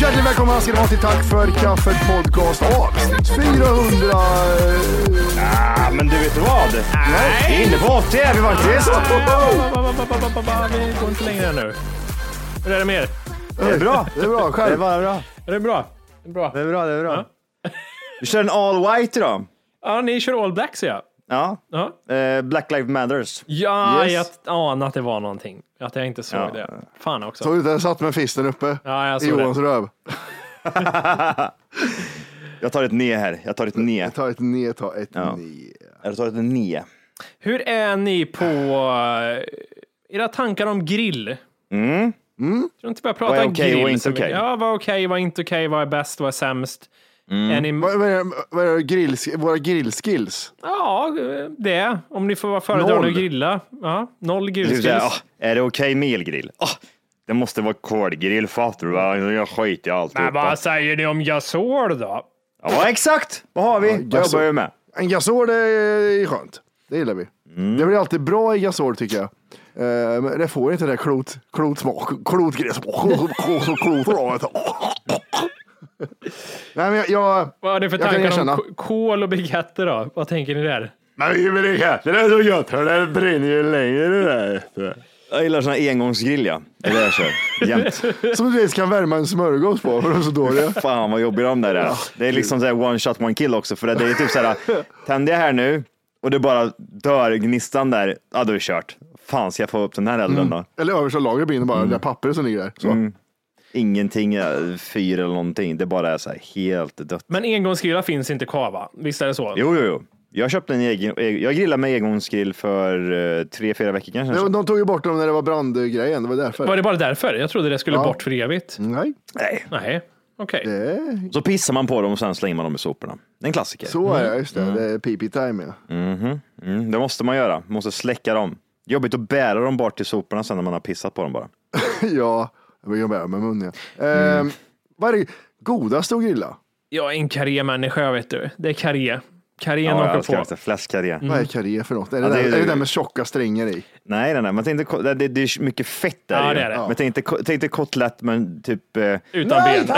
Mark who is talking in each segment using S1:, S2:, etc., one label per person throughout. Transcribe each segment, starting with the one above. S1: Hjärtligt välkomna ska ni vara till Tack för kaffet podcast avsnitt 400.
S2: Ah, men du vet vad? Nej. Vi är inne på 80 är vi faktiskt.
S3: Vi går inte längre nu. Hur är det med er?
S1: Det är bra. Det är bra. Själv?
S3: Det är bara bra. Är det bra? Det är bra.
S2: Det är bra. Det är bra. Du kör en all white idag.
S3: Ja, ni kör all black ser jag.
S2: Ja. Uh-huh. Eh, Black Lives Matters.
S3: Ja, yes. jag anade att det var någonting. Att jag inte såg ja. det. Fan också.
S1: Såg du Jag satt med fisten uppe
S3: ja, jag
S1: i Johans
S3: det.
S1: röv.
S2: jag tar ett ne här. Jag tar ett ne.
S1: Jag tar ett ne, jag tar ett ja. ne.
S2: Jag tar ett ne.
S3: Hur är ni på eh, era tankar om grill?
S2: Mm.
S3: Mm. Jag tror inte bara prata om
S2: okay,
S3: grill.
S2: Vad är okej okay.
S3: Ja, vad är okej, okay, vad är inte okej, okay, vad är bäst, vad är sämst?
S1: Mm. Ni... Vad, vad är grill, våra grillskills?
S3: Ja, det. Om ni får vara föredragande att grilla. Ja, noll grillskills.
S2: Det är, "Ah, är det okej okay med elgrill? Oh, det måste vara kolgrill, fattar du? Jag skiter i allt.
S3: Men alltså- vad säger ni om gasol då?
S2: Ja, exakt. Vad har vi? Ja, gasol. jobbar vi med?
S1: En gasol är skönt. Det gillar vi. Mm. Det blir alltid bra i gasol tycker jag. Eh, Men det får inte det där klot, klotsmak, klotgräs, klot, Nej, men jag, jag,
S3: Vad har ni för tankar om k- kol och baguetter då? Vad tänker ni där?
S1: Nej, men baguetter är så gött, det brinner ju längre det där.
S2: Jag gillar såna engångsgrill ja. Det är det jag kör. Jämt.
S1: Som du ens kan värma en smörgås på för de är så dåliga.
S2: Fan vad jobbiga de där är. Det är liksom så one shot one kill också. För det är typ så här, tänder jag här nu och det bara dör gnistan där, ja då är det kört. Fan ska jag få upp den här elden då? Mm.
S1: Eller översta lagret brinner bara, mm. det där pappret som ligger där. Så. Mm
S2: ingenting eh, fyr eller någonting. Det bara är så helt dött.
S3: Men engångsgrillar finns inte kvar va? Visst är det så?
S2: Jo, jo, jo. Jag köpte en egen, eh, jag grillade med engångsgrill för eh, tre, fyra veckor kanske.
S1: Ja, de tog ju bort dem när det var brandgrejen, det var därför.
S3: Var det bara därför? Jag trodde det skulle ja. bort för evigt.
S1: Nej.
S2: Nej.
S3: Nej. Okej. Okay.
S2: Det... Så pissar man på dem och sen slänger man dem i soporna. Det är en klassiker.
S1: Så är det, just det. Mm. Det är PP-time.
S2: Ja. Mm-hmm. Mm. Det måste man göra. Man måste släcka dem. Jobbigt att bära dem bort till soporna sen när man har pissat på dem bara.
S1: ja. Jag börjar bära med munnen. Ja. Eh, mm. vad är det godaste att grilla?
S3: Jag är en karrémänniska, vet du. Det är karré. Karrén ja, åker på.
S2: Inte. Fläskkarré.
S1: Mm. Vad är karré för något? Är det, ja, det, där, det, är det där med tjocka strängar i?
S2: Nej, nej, nej. Man tänkte, det, det, det är mycket fett där.
S3: Ja, det är det. Ja.
S2: Men tänkte, tänkte kotlett, men typ... Eh...
S3: Utan nej, ben.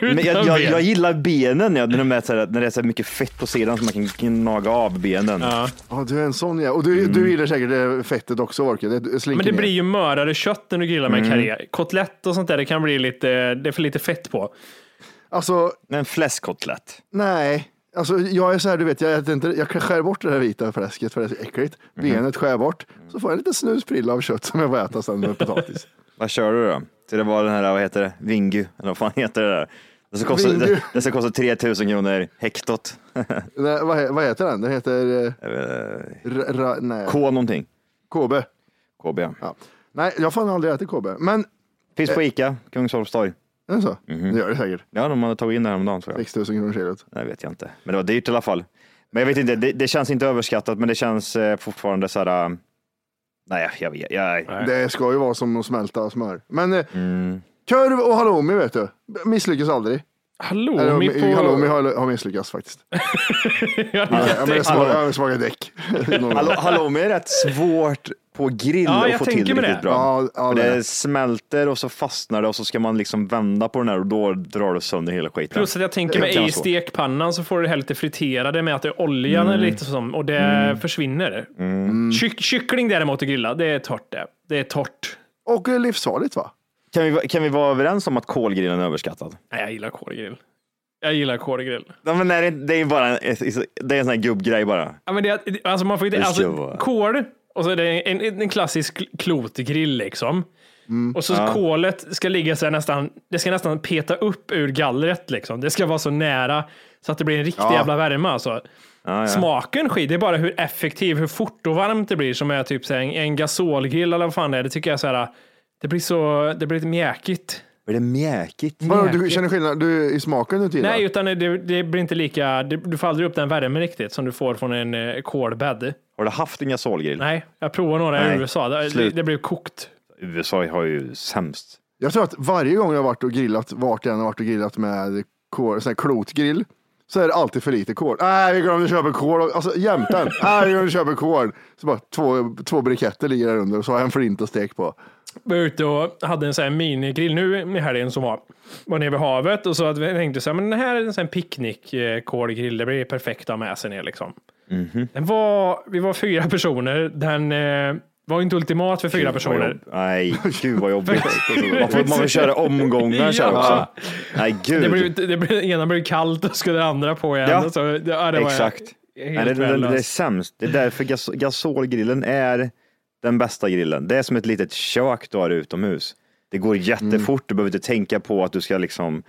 S2: Utan men jag, jag, jag, gillar benen, ja, när, de är så här, när det är så mycket fett på sidan så man kan gnaga av benen.
S3: Ja,
S1: ja du är en sån ja. Och du, mm. du gillar säkert fettet också, Orke. Det, det
S3: men det ner. blir ju mörare kött när du grillar med mm. karré. Kotlett och sånt där, det kan bli lite, det är för lite fett på.
S1: Alltså,
S2: men fläskkotlett?
S1: Nej, Alltså, jag är så här, du vet, jag, äter inte, jag skär bort det där vita fläsket för det är så äckligt. Mm. Benet skär bort, så får jag en liten snusprilla av kött som jag får äta sen med potatis.
S2: vad kör du då? Så det var den här, vad heter det, vingu, eller vad fan heter det där? Det ska kosta, det, det ska kosta 3000 kronor hektot.
S1: nej, vad, vad heter den? Den heter... Eh, r, ra, nej.
S2: K någonting.
S1: KB.
S2: KB, ja.
S1: ja. Nej, jag har fan aldrig ätit KB. Men...
S2: Finns eh, på Ica, Kungsholms torg.
S1: Är det så? Mm-hmm. Det gör det säkert.
S2: Ja, de hade tagit in det häromdagen. Tror jag.
S1: 6 000 kronor kilot.
S2: Nej, vet jag inte. Men det var dyrt i alla fall. Men jag vet inte, det, det känns inte överskattat, men det känns eh, fortfarande så här. Nej, jag vet. Jag,
S1: Det ska ju vara som att smälta smör. Men eh, kurv och halloumi vet du, misslyckas aldrig. Eller,
S3: Halloumi på...
S1: på... Halloumi har, har misslyckats faktiskt.
S3: Ja,
S1: Ja, men det
S2: Hallå.
S1: smakar, det smakar däck.
S2: Hallå, halloumi är rätt svårt på grill
S3: Ja, jag
S2: att få till
S3: tänker
S2: riktigt
S3: med
S2: bra.
S3: det.
S1: Ja, ja,
S2: För
S1: det är
S2: det
S1: det.
S2: smälter och så fastnar det och så ska man liksom vända på den här och då drar det sönder hela skiten.
S3: Plus att jag tänker
S2: Det kan
S3: mig
S2: vara
S3: i
S2: så.
S3: stekpannan så får du det här lite friterade med att det är oljan
S2: Mm.
S3: eller lite som och det försvinner. Kyck, kyckling däremot att grilla, det är torrt det. Det är torrt.
S1: Och eh, livsfarligt va?
S2: Kan, vi, kan vi vara överens om att kolgrillen är överskattad?
S3: Nej, jag gillar kolgrill. Jag gillar kolgrill.
S2: Nej, men nej, det är ju bara en, det är en sån här gubbgrej bara.
S3: Ja, men det, alltså man får inte,
S2: Det ska
S3: alltså,
S2: vara.
S3: kol och så är det en, en, en klassisk klotgrill liksom.
S2: Mm.
S3: Och så kolet ska ligga så här nästan, det ska nästan peta upp ur gallret liksom. Det ska vara så nära så att det blir en riktig jävla värme alltså. Smaken skit, det är bara hur effektiv, hur fort och varmt det blir som är typ så här, en, en gasolgrill eller vad fan det är. Det tycker jag så här, det blir så, det blir lite mjäkigt.
S2: Är det mjäkigt?
S1: Vadå, du känner skillnad du, i smaken du inte gillar?
S3: Nej, utan det, det blir inte lika, det, du får aldrig upp den värmen riktigt som du får från en eh, kolbädd.
S2: Har du haft en gasolgrill?
S3: Nej, jag provade några
S2: Nej,
S3: i USA. Det, det,
S2: slut.
S3: det blev kokt.
S2: USA har ju sämst.
S1: Jag tror att varje gång jag har varit och grillat, vart jag än har varit och grillat med kol, sån här klotgrill, så är det alltid för lite kol. Nej, vi glömde köpa kol. Alltså jämten. Nej, vi glömde köpa kol. Så bara två, två briketter ligger där under och så har jag en flint att stek på.
S3: var ute och hade en sån här minigrill nu i helgen som var, var nere vid havet och så att vi tänkte så här, men den här är en sån här picknickkolgrill, det blir perfekt att ha med sig ner liksom.
S2: Mhm.
S3: Den var, vi var fyra personer, den eh, var inte ultimat för fyra personer.
S2: Nej, gud vad jobbigt. man, får, man får köra omgångar så här
S3: Ja.
S2: också. Nej, gud.
S3: Det blev, det blev, ena blev kallt och skulle det andra på igen.
S2: Ja,
S3: och så, det, ja, det var
S2: Exakt.
S3: Helt
S2: Nej, det, det, det är
S3: värdelöst.
S2: sämst. Det är därför gas, gasolgrillen är den bästa grillen. Det är som ett litet kök du har utomhus. Det går jättefort. Du behöver inte tänka på att du ska liksom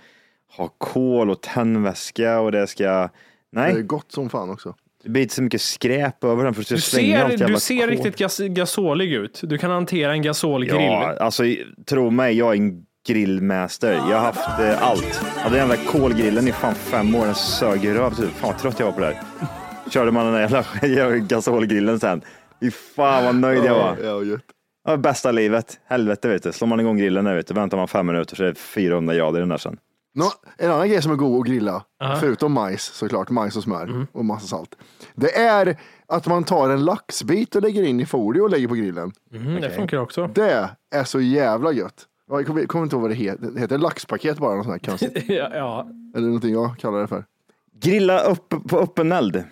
S2: ha kol och tändväska och det ska...
S1: Det är
S2: Nej,
S1: gott som fan också.
S2: det blir inte så mycket skräp över den för att du
S3: Du
S2: ska slänga allt
S3: ser,
S2: jävla
S3: du ser
S2: kol.
S3: riktigt gas, gasolig ut. Du kan hantera en gasolgrill.
S2: Ja, alltså tro mig, jag är en grillmaster. Jag har haft eh, allt. Jag hade den jävla kolgrillen i fan fem år. Den sög i röv. Typ. Fan vad trött jag var på det här. Körde man den där jävla gasolgrillen sen. Fy fan vad nöjd jag var.
S1: Ja, gött.
S2: Det var bästa livet. Helvete vet du. Slår man igång grillen där vet du. Väntar man fem minuter så är det 400 grader i den där sen.
S1: Nå, en annan grej som är god att grilla, förutom majs såklart, majs och smör
S2: Mm.
S1: och massa salt. Det är att man tar en laxbit och lägger in i folie och lägger på grillen.
S3: Mm, Det funkar också.
S1: Det är så jävla gött. Ja, Jag kommer, kommer inte ihåg vad det heter. Det heter laxpaket bara, något sånt här konstigt.
S3: Ja, ja.
S1: Eller någonting jag kallar det för.
S2: Grilla upp på öppen eld.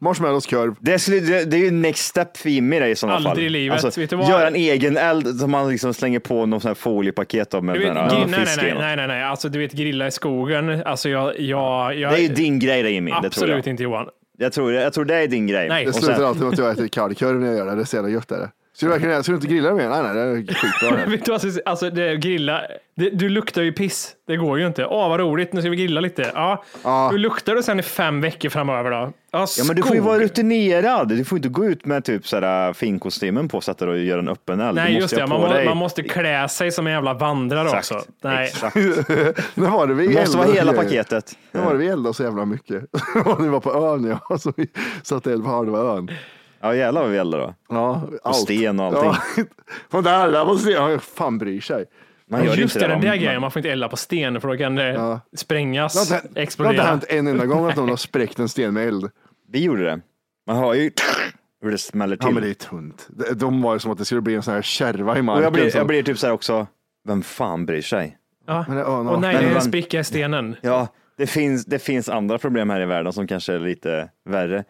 S1: Marshmallows kurv.
S2: Det, skulle, det, det är ju next step för Jimmy det i sådana fall. Alltså,
S3: Aldrig i livet, vet du vad?
S2: Göra en egen eld som man liksom slänger på någon sån här foliepaket av med
S3: Du vet,
S2: den
S3: gri-
S2: här
S3: nej,
S2: fisken.
S3: nej, nej, nej, nej, alltså du vet grilla i skogen. Alltså jag, jag, jag
S2: Det är ju din grej det Jimmy. det tror
S3: absolut
S2: jag.
S3: inte Johan.
S2: Jag, tror, jag tror det är din grej.
S3: Nej.
S1: Det
S2: Och
S1: slutar
S2: sen,
S1: alltid med att jag äter kallkurv när jag gör det. Det är så jävla gött. Är det. Ska, du verkligen, ska du inte grilla mer? Nej, nej, det är skitbra. det.
S3: Vet du, alltså, alltså det, grilla, det, du luktar ju piss. Det går ju inte. Åh, vad roligt, nu ska vi grilla lite. Ja.
S1: Ja.
S3: Hur luktar du sen i fem veckor framöver då? Ja,
S2: ja, men du
S3: skog.
S2: får ju vara rutinerad. Du får inte gå ut med typ sådär finkostymen på så att du gör en öppen eld.
S3: Nej,
S2: du
S3: just
S2: måste
S3: det.
S2: ha
S3: Man,
S2: på
S3: må,
S2: dig-
S3: man måste klä sig som en jävla vandrare
S2: Exakt.
S3: också. Nej.
S2: Exakt.
S1: När var det vi
S2: Det måste vara
S1: eldade?
S2: hela paketet.
S1: När var det vi eldade så jävla mycket? När vi var på ön, ja. Så vi satte eld på halva ön.
S2: Ja, jävlar vad vi eldar då.
S1: Ja, allt.
S2: sten och allting.
S1: Ja. Från där, där på sten. Ja, fan bryr sig.
S2: Man gör
S3: Just
S2: inte
S3: det, den
S2: va?
S3: där grejen. Man får inte elda på sten för då kan det
S1: Det har
S3: sprängas,
S1: inte- Det har inte
S3: explodera.
S1: hänt en enda gång att någon har spräckt en sten med eld.
S2: Vi gjorde det. Man hör ju hur det smäller till.
S1: Ja, men det är tunt. De- De var ju som att det skulle bli en sån här kärva i marken.
S2: och jag, blir,
S1: som-
S2: jag blir typ så här också, vem fan bryr sig?
S3: Ja.
S1: Men det är ön
S3: Och
S1: och-
S3: nej, det
S2: Men
S3: är en
S2: man-
S3: spricka i stenen.
S2: Ja, det finns, det finns andra problem här i världen som kanske är lite värre. En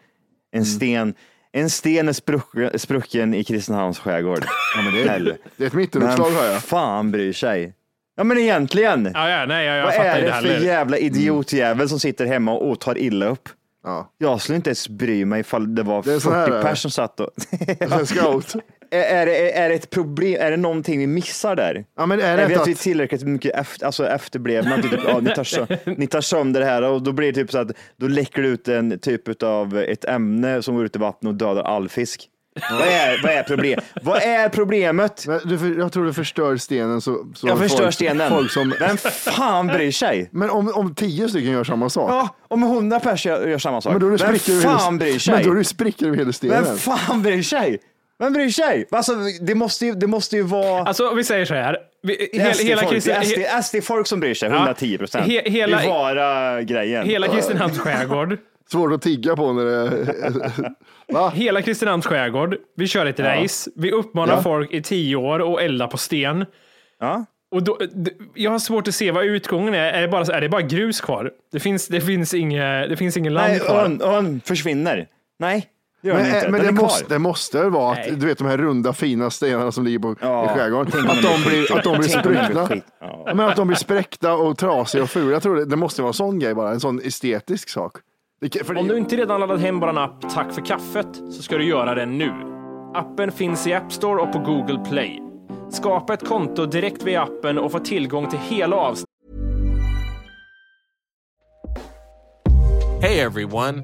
S1: Mm.
S2: sten, en sten är sprucken, sprucken i Kristinehamns skärgård.
S1: Ja, men det, är,
S2: Hell.
S1: det är ett mittenuppslag hör
S2: Vem
S1: jag.
S2: fan bryr sig? Ja men egentligen,
S3: Ja, ja, nej, jag, jag
S2: vad
S3: fattar
S2: är
S3: inte
S2: det för
S3: heller. Mm.
S2: jävla idiotjävel som sitter hemma och tar illa upp?
S1: Ja.
S2: Jag skulle inte ens bry mig ifall det var
S1: Det är så här,
S2: 40
S1: eller?
S2: pers som satt och...
S1: Sen scout.
S2: Är, är, det, är det ett problem? Är det någonting vi missar där?
S1: Ja, men är
S2: Är vi
S1: det
S2: att vi är
S1: att...
S2: tillräckligt mycket efter, alltså efterblivna? Typ, ja, ni, tar sö- ni tar sönder det här och då blir det typ så att då läcker det ut en typ av ett ämne som går ut i vattnet och dödar all fisk. Vad är, vad är, problem? vad är problemet?
S1: Men du, för- jag tror du förstör stenen så... så
S2: Jag förstör
S1: folk,
S2: stenen.
S1: Folk som,
S2: Vem fan bryr sig?
S1: men om, om tio stycken gör samma sak.
S2: Ja, om hundra pers gör, gör samma sak.
S1: Men då är det
S2: Vem
S1: sprickor över hela-
S2: fan bryr
S1: Men då är
S2: sig?
S1: det sprickor över hela stenen.
S2: Vem fan bryr sig? Vem bryr sig? Alltså, det måste ju, det måste ju vara...
S3: Alltså vi säger så här. Vi,
S2: Det är
S3: hel, hela
S2: SD-folk
S3: Kristi- he-
S2: Det är SD folk som bryr sig, 110 procent.
S3: He- hela-
S2: Bevara grejen.
S3: hela Kristinehamns skärgård.
S1: Svårt att tigga på när det... Va?
S3: Hela Kristinehamns skärgård. Vi kör ett race. Vi uppmanar folk i tio år att elda på sten.
S2: Ja.
S3: Och då, d- jag har svårt att se vad utgången är. Är det bara, så- är det bara grus kvar? Det finns, det finns, inget, det finns ingen land
S2: Nej,
S3: kvar.
S2: ön, ön försvinner. Nej, det gör den
S1: Men,
S2: inte.
S1: eh, men det,
S2: den är kvar.
S1: måste, det måste väl vara
S3: Nej.
S1: att, du vet de här runda fina stenarna som ligger på,
S2: Ja,
S1: i
S2: tänk om
S1: skärgården, att
S2: de
S1: de,
S2: blir skit.
S1: blir, att de blir
S2: Tänk om de blir
S1: spruckna.
S2: skit. Ja.
S1: Men att de blir spräckta och trasiga och fula. Jag tror det, det måste vara en sån grej bara, en sån estetisk sak. Det, kan- för det,
S4: Om du inte redan laddat hem vår app Tack för kaffet så ska du göra det nu. Appen finns i App Store och på Google Play. Skapa ett konto direkt via appen och få tillgång till hela avsnittet
S5: Hey everyone,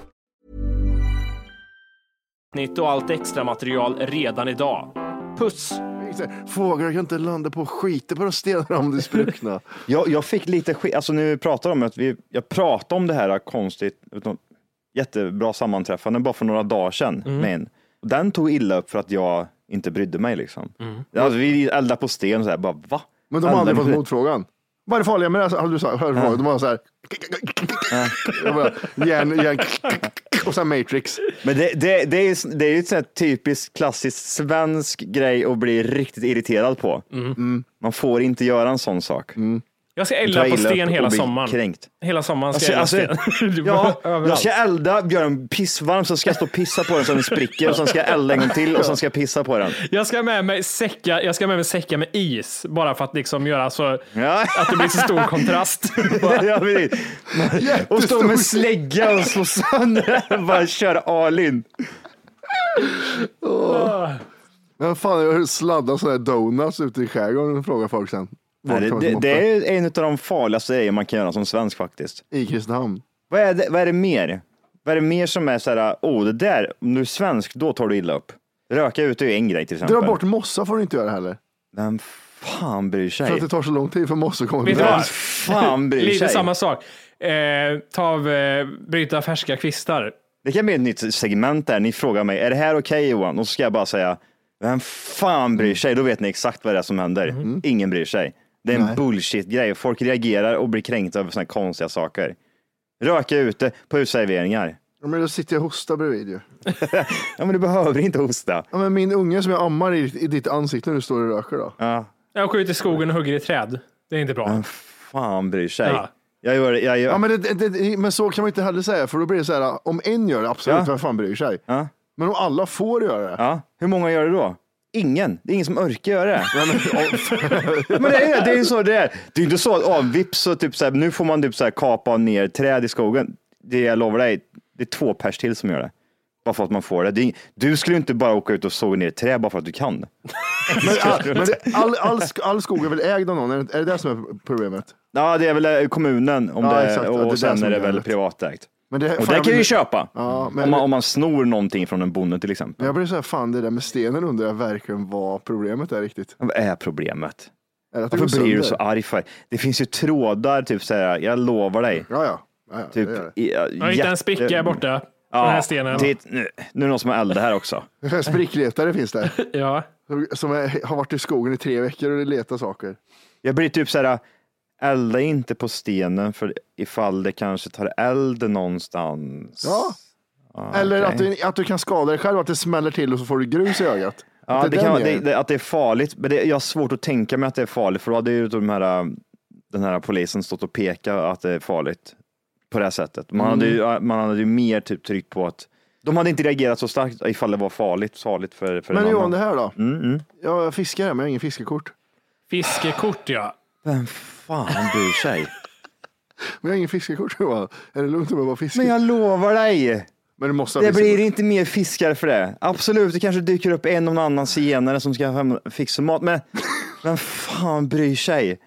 S4: nytt och allt extra material redan idag. Puss!
S1: Fåglar kan inte landa på skiten på de stenarna om de är spruckna.
S2: Jag, jag fick lite skit, alltså nu pratar de om att vi, jag pratade om det här konstigt, utan- jättebra sammanträffande bara för några dagar sedan
S6: Mm.
S2: med en. Den tog illa upp för att jag inte brydde mig liksom. Alltså, vi eldade på sten och så här, bara va?
S1: Men de har aldrig
S2: Eldar
S1: fått
S2: vi-
S1: motfrågan. Vad är det farliga med det? här? Har du sagt, hör, frågan. De har så här, Jag bara, järn, järn, och sen Matrix.
S2: Men det, det, det är ju det är ju ett sånt här typiskt klassiskt svensk grej att bli riktigt irriterad på. Man får inte göra en sån sak.
S3: Jag ska
S2: Ta
S3: elda på
S2: illa
S3: sten
S2: upp och
S3: hela
S2: bli
S3: sommaren.
S2: kränkt.
S3: Hela sommaren ska
S2: Alltså,
S3: jag elda
S2: alltså,
S3: sten. Du
S2: Ja,
S3: bara,
S2: jag
S3: överallt.
S2: ska elda, göra den pissvarm, så ska jag stå och pissa på den så den spricker och sen ska jag elda en gång till och sen ska jag pissa på den.
S3: Jag ska ha med mig säckar, jag ska ha med mig säckar med is bara för att liksom göra så
S2: Ja.
S3: att det blir så stor kontrast.
S2: Ja, precis. och stå med slägga och slå sönder den, bara köra all in.
S1: Åh. Men fan, jag sladdar sådana här donuts ute i skärgården frågar folk sen.
S2: Nej, det, det, det är en av de farligaste grejerna man kan göra som svensk faktiskt.
S1: I Kristinehamn.
S2: Vad är det, vad är det mer? Vad är det mer som är så här, oh det där, om du är svensk, då tar du illa upp. Röka ute är ju en grej till exempel.
S1: Dra bort mossa får du inte göra heller.
S2: Vem fan bryr sig?
S1: För att det tar så lång tid för mossa att komma
S3: Vet du
S1: tillbaka.
S3: vad? Lite samma sak. Eh, ta av, eh, bryta färska kvistar.
S2: Det kan bli ett nytt segment där ni frågar mig, är det här okej Johan? Och så ska jag bara säga, vem fan
S1: Mm.
S2: bryr sig? Då vet ni exakt vad det är som händer.
S3: Mm.
S2: Ingen bryr sig. Det är en bullshit-grej. Folk reagerar och blir kränkta över sådana konstiga saker. Röka ute på uteserveringar.
S1: Ja, men då sitter jag och hostar bredvid ju.
S2: ja, men du behöver inte hosta.
S1: Ja, men min unge som jag ammar i, i ditt ansikte när du står och röker då.
S2: Ja.
S3: Jag åker ut i skogen och hugger i träd. Det är inte bra.
S2: Fan bryr sig.
S3: Ja.
S2: Jag gör, jag gör.
S1: Ja, men, det, det, det, men så kan man inte heller säga, för då blir det så här, om en gör det, absolut,
S2: Ja.
S1: vem fan bryr sig?
S2: Ja.
S1: Men om alla får göra det.
S2: Ja. Hur många gör det då? Ingen. Det är ingen som orkar göra det. men det är det är ju så det är. Det är inte så att oh, vips så typ så här, nu får man typ så här kapa ner träd i skogen. Det jag lovar dig, det är två pers till som gör det. Bara för att man får det. det är, ing- du skulle inte bara åka ut och såga ner träd bara för att du kan.
S1: Men, all, men det- all, all, sk- all skog är väl ägd av någon? Är det, är det det som är problemet?
S2: Ja, det är väl eh, kommunen om
S1: Ja,
S2: det,
S1: exakt. Ja, det är
S2: och
S1: det
S2: sen
S1: som
S2: är det
S1: är
S2: väl
S1: rätt.
S2: privatägt.
S1: Men det-
S2: och
S1: fan,
S2: det kan
S1: men-
S2: vi ju köpa.
S1: Ja, men-
S2: om, man, om man snor någonting från en bonde till exempel.
S1: Jag blir så här, fan det där med stenen undrar jag verkligen vad problemet är riktigt.
S2: Vad är problemet?
S1: Är det att det går
S2: Varför blir du så
S1: sönder?
S2: arg för? Det finns ju trådar, typ så här, jag lovar dig.
S1: Ja, ja. ja, ja
S2: Typ,
S1: det gör
S2: i- ja,
S3: Jag hittade en spricka här borta. på
S2: Ja,
S3: den här stenen.
S2: titt, nu, nu är det någon som har eldat här också.
S1: det. Sprickletare finns det.
S3: Ja.
S1: Som är, har varit i skogen i tre veckor och letat saker.
S2: Jag blir typ så här, elda inte på stenen för ifall det kanske tar eld någonstans.
S1: Ja. Eller
S2: okej.
S1: att, du, att du kan skada dig själv, att det smäller till och så får du grus i ögat.
S2: Ja,
S1: Att
S2: det,
S1: den
S2: kan, vara-
S1: gör
S2: det,
S1: det.
S2: det, att det är farligt. Men det, jag har svårt att tänka mig att det är farligt, för då hade ju de här, den här polisen stått och pekat att det är farligt på det här sättet. Man, hade, ju, man hade ju mer typ tryckt på att de hade inte reagerat så starkt ifall det var farligt, farligt för, för en
S1: Men
S2: annan.
S1: Johan, det här då?
S2: Mm,
S1: Jag fiskar här, men jag har ingen fiskekort.
S3: Fiskekort ja.
S2: Vem fan bryr sig?
S1: Men jag har ingen fiskekort Johan. Är det lugnt om jag bara fiskar?
S2: Men jag lovar dig!
S1: Men du måste ha
S2: Det blir
S1: fiskekort.
S2: inte mer fiskar för det. Absolut, det kanske dyker upp en och en annan zigenare som ska hem- fixa mat, men vem fan bryr sig?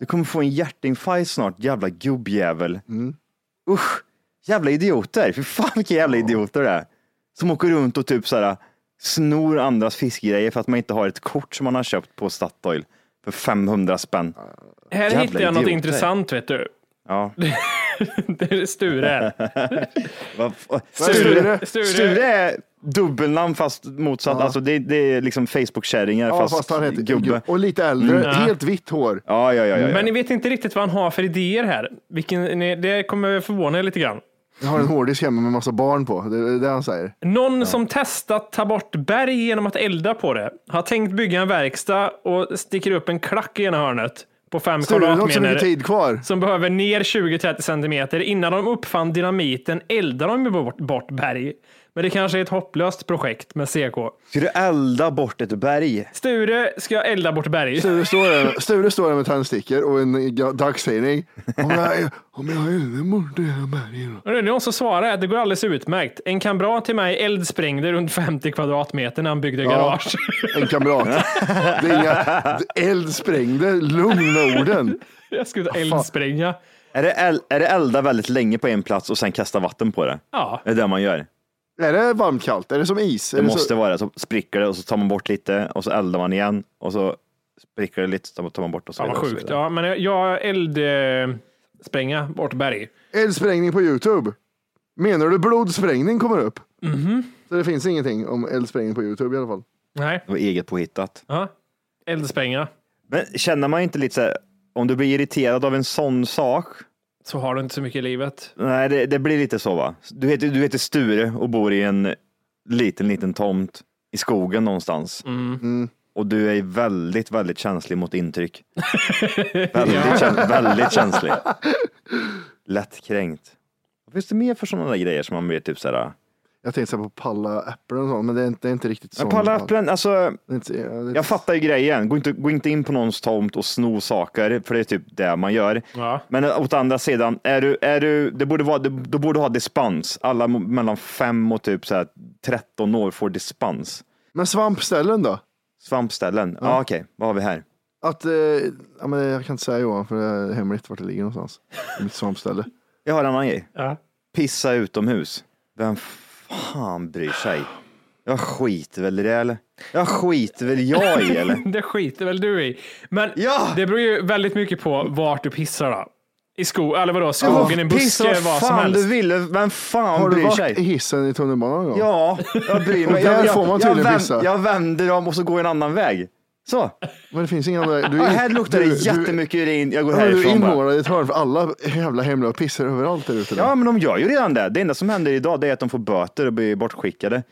S2: Du kommer få en hjärtinfarkt snart, jävla gubbjävel. Usch, jävla idioter. Fy fan vilka jävla idioter det är. Som åker runt och typ så här, snor andras fiskgrejer för att man inte har ett kort som man har köpt på Statoil för 500 spänn.
S3: Här
S2: Jävla
S3: hittade jag något
S2: idioter.
S3: intressant vet du.
S2: Ja.
S3: Det är Sture.
S2: Vad fa-
S3: Sture.
S2: Sture.
S3: Sture.
S2: Sture är dubbelnamn fast motsatt.
S1: Ja.
S2: Alltså det, det är liksom Facebook-kärringar
S1: Ja,
S2: fast,
S1: fast han heter
S2: gubbe.
S1: Och lite äldre,
S3: Mm.
S1: helt vitt hår.
S2: Ja, ja, ja. ja, ja.
S3: Men ni vet inte riktigt vad han har för idéer här. Vilken, ni- det kommer förvåna er lite grann.
S1: Jag har en hårddisk hemma med massa barn på. Det är det han säger.
S3: Någon som testat ta bort berg genom att elda på det har tänkt bygga en verkstad och sticker upp en klack i ena hörnet på fem
S1: Sture, det är inte så mycket tid
S3: kvadratmeter
S1: kvar.
S3: som behöver ner 20-30 centimeter. Innan de uppfann dynamiten eldade de ju bort, bort berg. Men det kanske är ett hopplöst projekt med CK.
S2: Ska du elda bort ett berg?
S3: Sture ska elda bort berg.
S1: Sture står där, Sture står där med tändstickor och en ga- dagstidning. Om jag, om jag eldar bort det här berget då.
S3: Och det är någon som svarar att det går alldeles utmärkt. En kamrat till mig eldsprängde runt 50 kvadratmeter när han byggde garage.
S1: En kamrat. Det är inga eld sprängde, lugna orden.
S3: Jag skulle eldspränga.
S2: Är det, el- är det elda väldigt länge på en plats och sen kasta vatten på det?
S3: Ja.
S2: Det är det man gör.
S1: Är det varmt kallt? Är det som is? Är
S2: Det
S1: det
S2: måste
S1: så...
S2: vara det. Så spricker det och så tar man bort lite och så eldar man igen och så spricker det lite så tar man bort och så
S3: Fan vad
S2: vidare och så
S3: sjukt.
S2: vidare.
S3: Ja, men jag- jag eldspränga bort berg.
S1: Eldsprängning på Youtube. Menar du blodsprängning kommer upp? Så det finns ingenting om eldsprängning på Youtube i alla fall.
S3: Nej.
S2: Det var eget påhittat.
S3: Ja. Eldspänga.
S2: Men känner man inte lite så här, om du blir irriterad av en sån sak,
S3: Så har du inte så mycket i livet.
S2: Nej, det, det blir lite så va. Du heter, du heter Sture och bor i en liten, liten tomt i skogen någonstans. Och du är väldigt, väldigt känslig mot intryck. väldigt, käns- väldigt känslig. Lättkränkt. Vad finns det mer för sådana där grejer som man blir typ såhär?
S1: Jag tänkte så här på palla äpplen och sånt, men det är inte, det är inte riktigt så.
S2: Men palla äpplen, alltså. Jag fattar ju grejen. Gå inte, gå inte in på någons tomt och sno saker, för det är typ det man gör.
S3: Ja.
S2: Men åt andra sidan, är du, är du, det borde vara, du, du borde ha dispens. Alla mo- mellan 5 och typ så här 13 år får dispens.
S1: Men svampställen då?
S2: Svampställen. Ja, okej. Vad har vi här?
S1: Att, eh, ja, men jag kan inte säga Johan, för det är hemligt vart det ligger någonstans. Det är Mitt svampställe.
S2: Jag har en annan grej.
S3: Ja.
S2: Pissa utomhus. Vem fan bryr sig? Jag skiter väl i det eller? Jag skiter väl jag i eller?
S3: Det skiter väl du i. Men
S2: Ja!
S3: det beror ju väldigt mycket på vart du pissar då. I skogen, eller vadå, skogen, en
S2: Pissa
S3: buske, vad
S2: vad
S3: som
S2: fan
S3: helst.
S2: du ville. Vem fan
S1: Har du
S2: bryr
S1: varit
S2: sig?
S1: i hissen i tunnelbanan någon gång?
S2: Ja, jag bryr mig.
S1: Och där
S2: jag, jag,
S1: får man tydligen
S2: jag,
S1: pissa.
S2: vänd, jag vänder om och så går jag en annan väg. Så.
S1: Men det finns inga andra. Du,
S2: Ja, här luktar det
S1: du-
S2: jättemycket urin. Jag går
S1: Du, ja, du är
S2: härifrån bara.
S1: inmålad i ett hörn för alla jävla hemliga pissar överallt där ute.
S2: Ja, men de gör ju redan det. Det enda som händer idag det är att de får böter och blir bortskickade.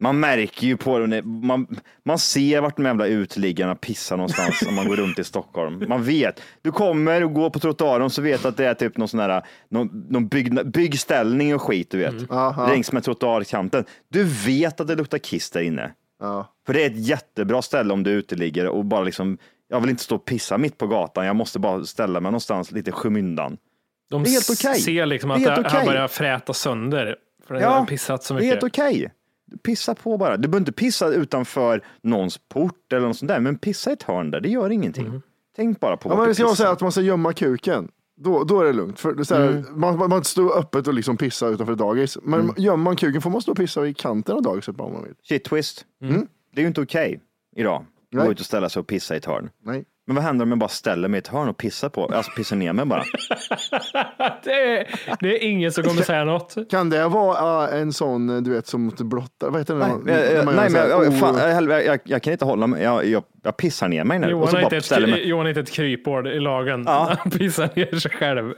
S2: Man märker ju på dem. Man, man ser vart de jävla uteliggarna pissar någonstans om man går runt i Stockholm. Man vet. Du kommer och går på trottoaren så vet du att det är typ någon sån här, någon, någon byggna, byggställning och skit, du vet.
S1: Aha.
S2: Längs med trottoarkanten. Du vet att det luktar kiss där inne.
S1: Ja.
S2: För det är ett jättebra ställe om du är uteliggare och bara liksom, jag vill inte stå och pissa mitt på gatan. Jag måste bara ställa mig någonstans lite i skymundan.
S3: De
S2: Det är helt okej.
S3: ser liksom
S2: Det är
S3: att det
S2: helt
S3: här
S2: okej.
S3: börjar fräta sönder. För det har pissat så
S2: det är
S3: mycket.
S2: helt okej. Pissa på bara. Du behöver inte pissa utanför någons port eller något sånt där, men pissa i ett hörn där, det gör ingenting.
S3: Mhm.
S2: Tänk bara på typ
S1: Ja,
S2: vart
S1: men
S2: du
S1: det ska man
S2: pissar.
S1: säga att man ska gömma kuken. Då, då är det lugnt. För det är så här,
S2: Mm.
S1: man, man, man står öppet och liksom pissar utanför dagis. Men gömmer man kuken får man stå och pissa i kanten av dagiset bara om man vill.
S2: Shit twist. Mm? Det är ju inte okej idag. Att
S1: Mhm. Nej.
S2: gå ut och ställa sig och pissa i ett hörn.
S1: Nej.
S2: Men vad händer om jag bara ställer mig i ett hörn och pissar på, alltså pissar ner mig bara?
S3: Det är, det är ingen som kommer säga något.
S1: Kan det vara äh, en sån, eh, du vet, som blottar? Vad heter det? när man-
S2: Nej, jag-
S1: när
S2: jag-
S1: man
S2: nej,
S1: gör så
S2: men
S1: här,
S2: jag,
S1: oh.
S2: fan, jag, jag, jag kan inte hålla mig. Jag, jag, jag pissar ner mig nu. och
S3: Johan
S2: så
S3: är,
S2: bara
S3: inte ett,
S2: ställer
S3: kry-
S2: mig.
S3: Johan är inte ett kryphål i lagen.
S2: Ja.
S3: Han pissar ner sig själv.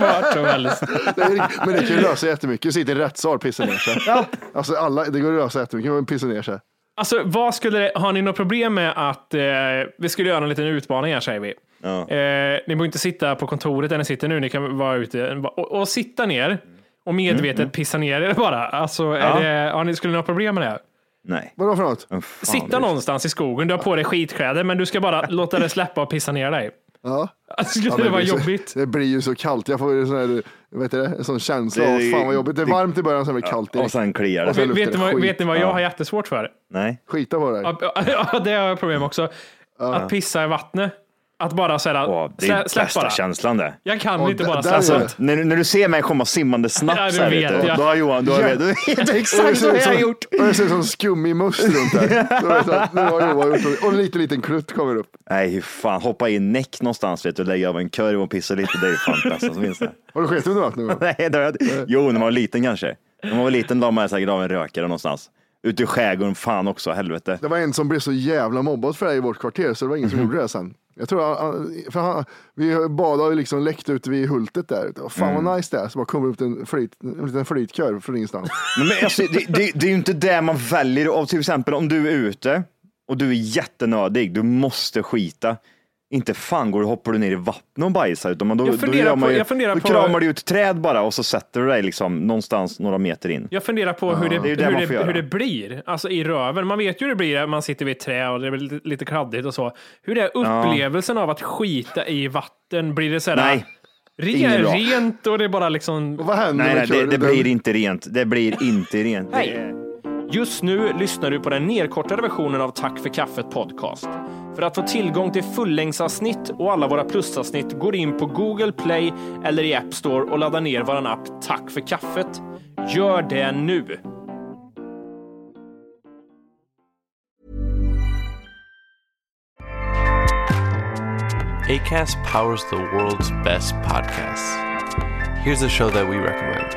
S3: Vart som helst.
S1: Det är- Men det kan ju lösa jättemycket. Du sitter i rättssal och pissar ner sig.
S2: Ja.
S1: Alltså alla, det går att lösa jättemycket. Man pissar ner sig.
S3: Alltså, vad skulle det, har ni något problem med att eh, vi skulle göra en liten utmaning här säger vi. Eh, ni behöver inte sitta på kontoret där ni sitter nu, ni kan vara ute och, och sitta ner och medvetet pissa ner er bara. Alltså,
S2: Mm, Ja.
S3: är det, har ni, skulle ni ha problem med det?
S2: Nej.
S1: Vadå för något?
S3: Sitta någonstans i skogen, du har på dig skitkläder, men du ska bara låta det släppa och pissa ner dig.
S1: Ja.
S3: Alltså, skulle det
S1: men
S3: vara
S1: blir så-
S3: jobbigt?
S1: Det blir ju så kallt. Jag får ju sån här, vet du det, en sån känsla
S2: Det-
S1: av fan vad jobbigt. Det är
S2: det-
S1: varmt i början, sen blir det
S2: Ja,
S1: kallt
S2: och sen kliar det.
S1: Och sen
S3: Vet- vet,
S1: luktar
S3: ni vad,
S1: skit.
S3: vet ni vad jag har jättesvårt för?
S2: Nej.
S1: Skita på dig.
S3: Ja, ja, det har jag problem också. Att pissa i vattnet. Att bara såhär,
S2: Det är
S3: slä,
S2: ju
S3: släpp
S2: bästa
S3: bara.
S2: känslan det.
S3: Jag kan inte bara släppa.
S2: Alltså, när, du- när du ser mig komma simmande snabbt
S3: Ja, du
S2: så här,
S3: vet
S2: vet du,
S3: jag.
S2: då har Johan, då har
S3: Ja.
S2: vet du vet
S1: Och det
S2: exakt
S1: ser
S2: vad
S1: ut
S2: jag har
S1: som-
S2: gjort.
S1: Och det ser ut som skummig must runt där. Då vet jag att Nu har Johan gjort Och en liten, liten klutt kommer upp.
S2: Nej, hur fan, hoppa in näck någonstans vet du, lägga av en kurv och pissa lite, det är ju fan det bästa som finns det.
S1: Har du skett under vattnet? någon gång?
S2: Nej, det har jag inte. Jo, när man var liten kanske. När man var liten la man säkert av en rökare någonstans. Ute i skärgården, fan också, helvete.
S1: Det var en som blev så jävla mobbad för det här i vårt kvarter så det var ingen
S2: Mhm.
S1: som gjorde det sen. Jag tror han- han, för han, vi badade ju liksom läckt ut vid Hultet där. Och Fan
S2: Mm.
S1: vad nice det är. Så bara kommer upp en, flyt, en liten flytkör från ingenstans.
S2: Men, men alltså, det, det, det är ju inte det man väljer av. Till exempel om du är ute och du är jättenödig, du måste skita. Inte fan går du hoppar du ner i vattnet och bajsar, utan man, då,
S3: Jag
S2: då,
S3: funderar
S2: gör man
S3: på-
S2: ju,
S3: jag funderar
S2: då
S3: på-
S2: kramar du ut ett träd bara och så sätter du dig liksom någonstans några meter in.
S3: Jag funderar på hur, det,
S2: Det är ju det man
S3: hur,
S2: får
S3: det,
S2: göra.
S3: hur det blir, alltså i röven. Man vet ju hur det blir när man sitter vid ett trä och det blir lite, lite kladdigt och så. Hur är upplevelsen av att skita i vatten? Blir det så här
S2: Nej. Ingen
S3: Re,
S2: bra.
S3: rent och det är bara liksom...
S1: Vad händer med
S2: Nej, nej det,
S1: kören?
S2: det
S1: Den-
S2: blir inte rent. Det blir inte rent.
S4: Hej! Just nu lyssnar du på den nedkortade versionen av Tack för kaffet podcast. För att få tillgång till fullängdsavsnitt och alla våra plusavsnitt går in på Google Play eller i App Store och laddar ner vår app Tack för kaffet. Gör det nu!
S5: ACAST powers the world's best podcasts. Here's a show that we recommend.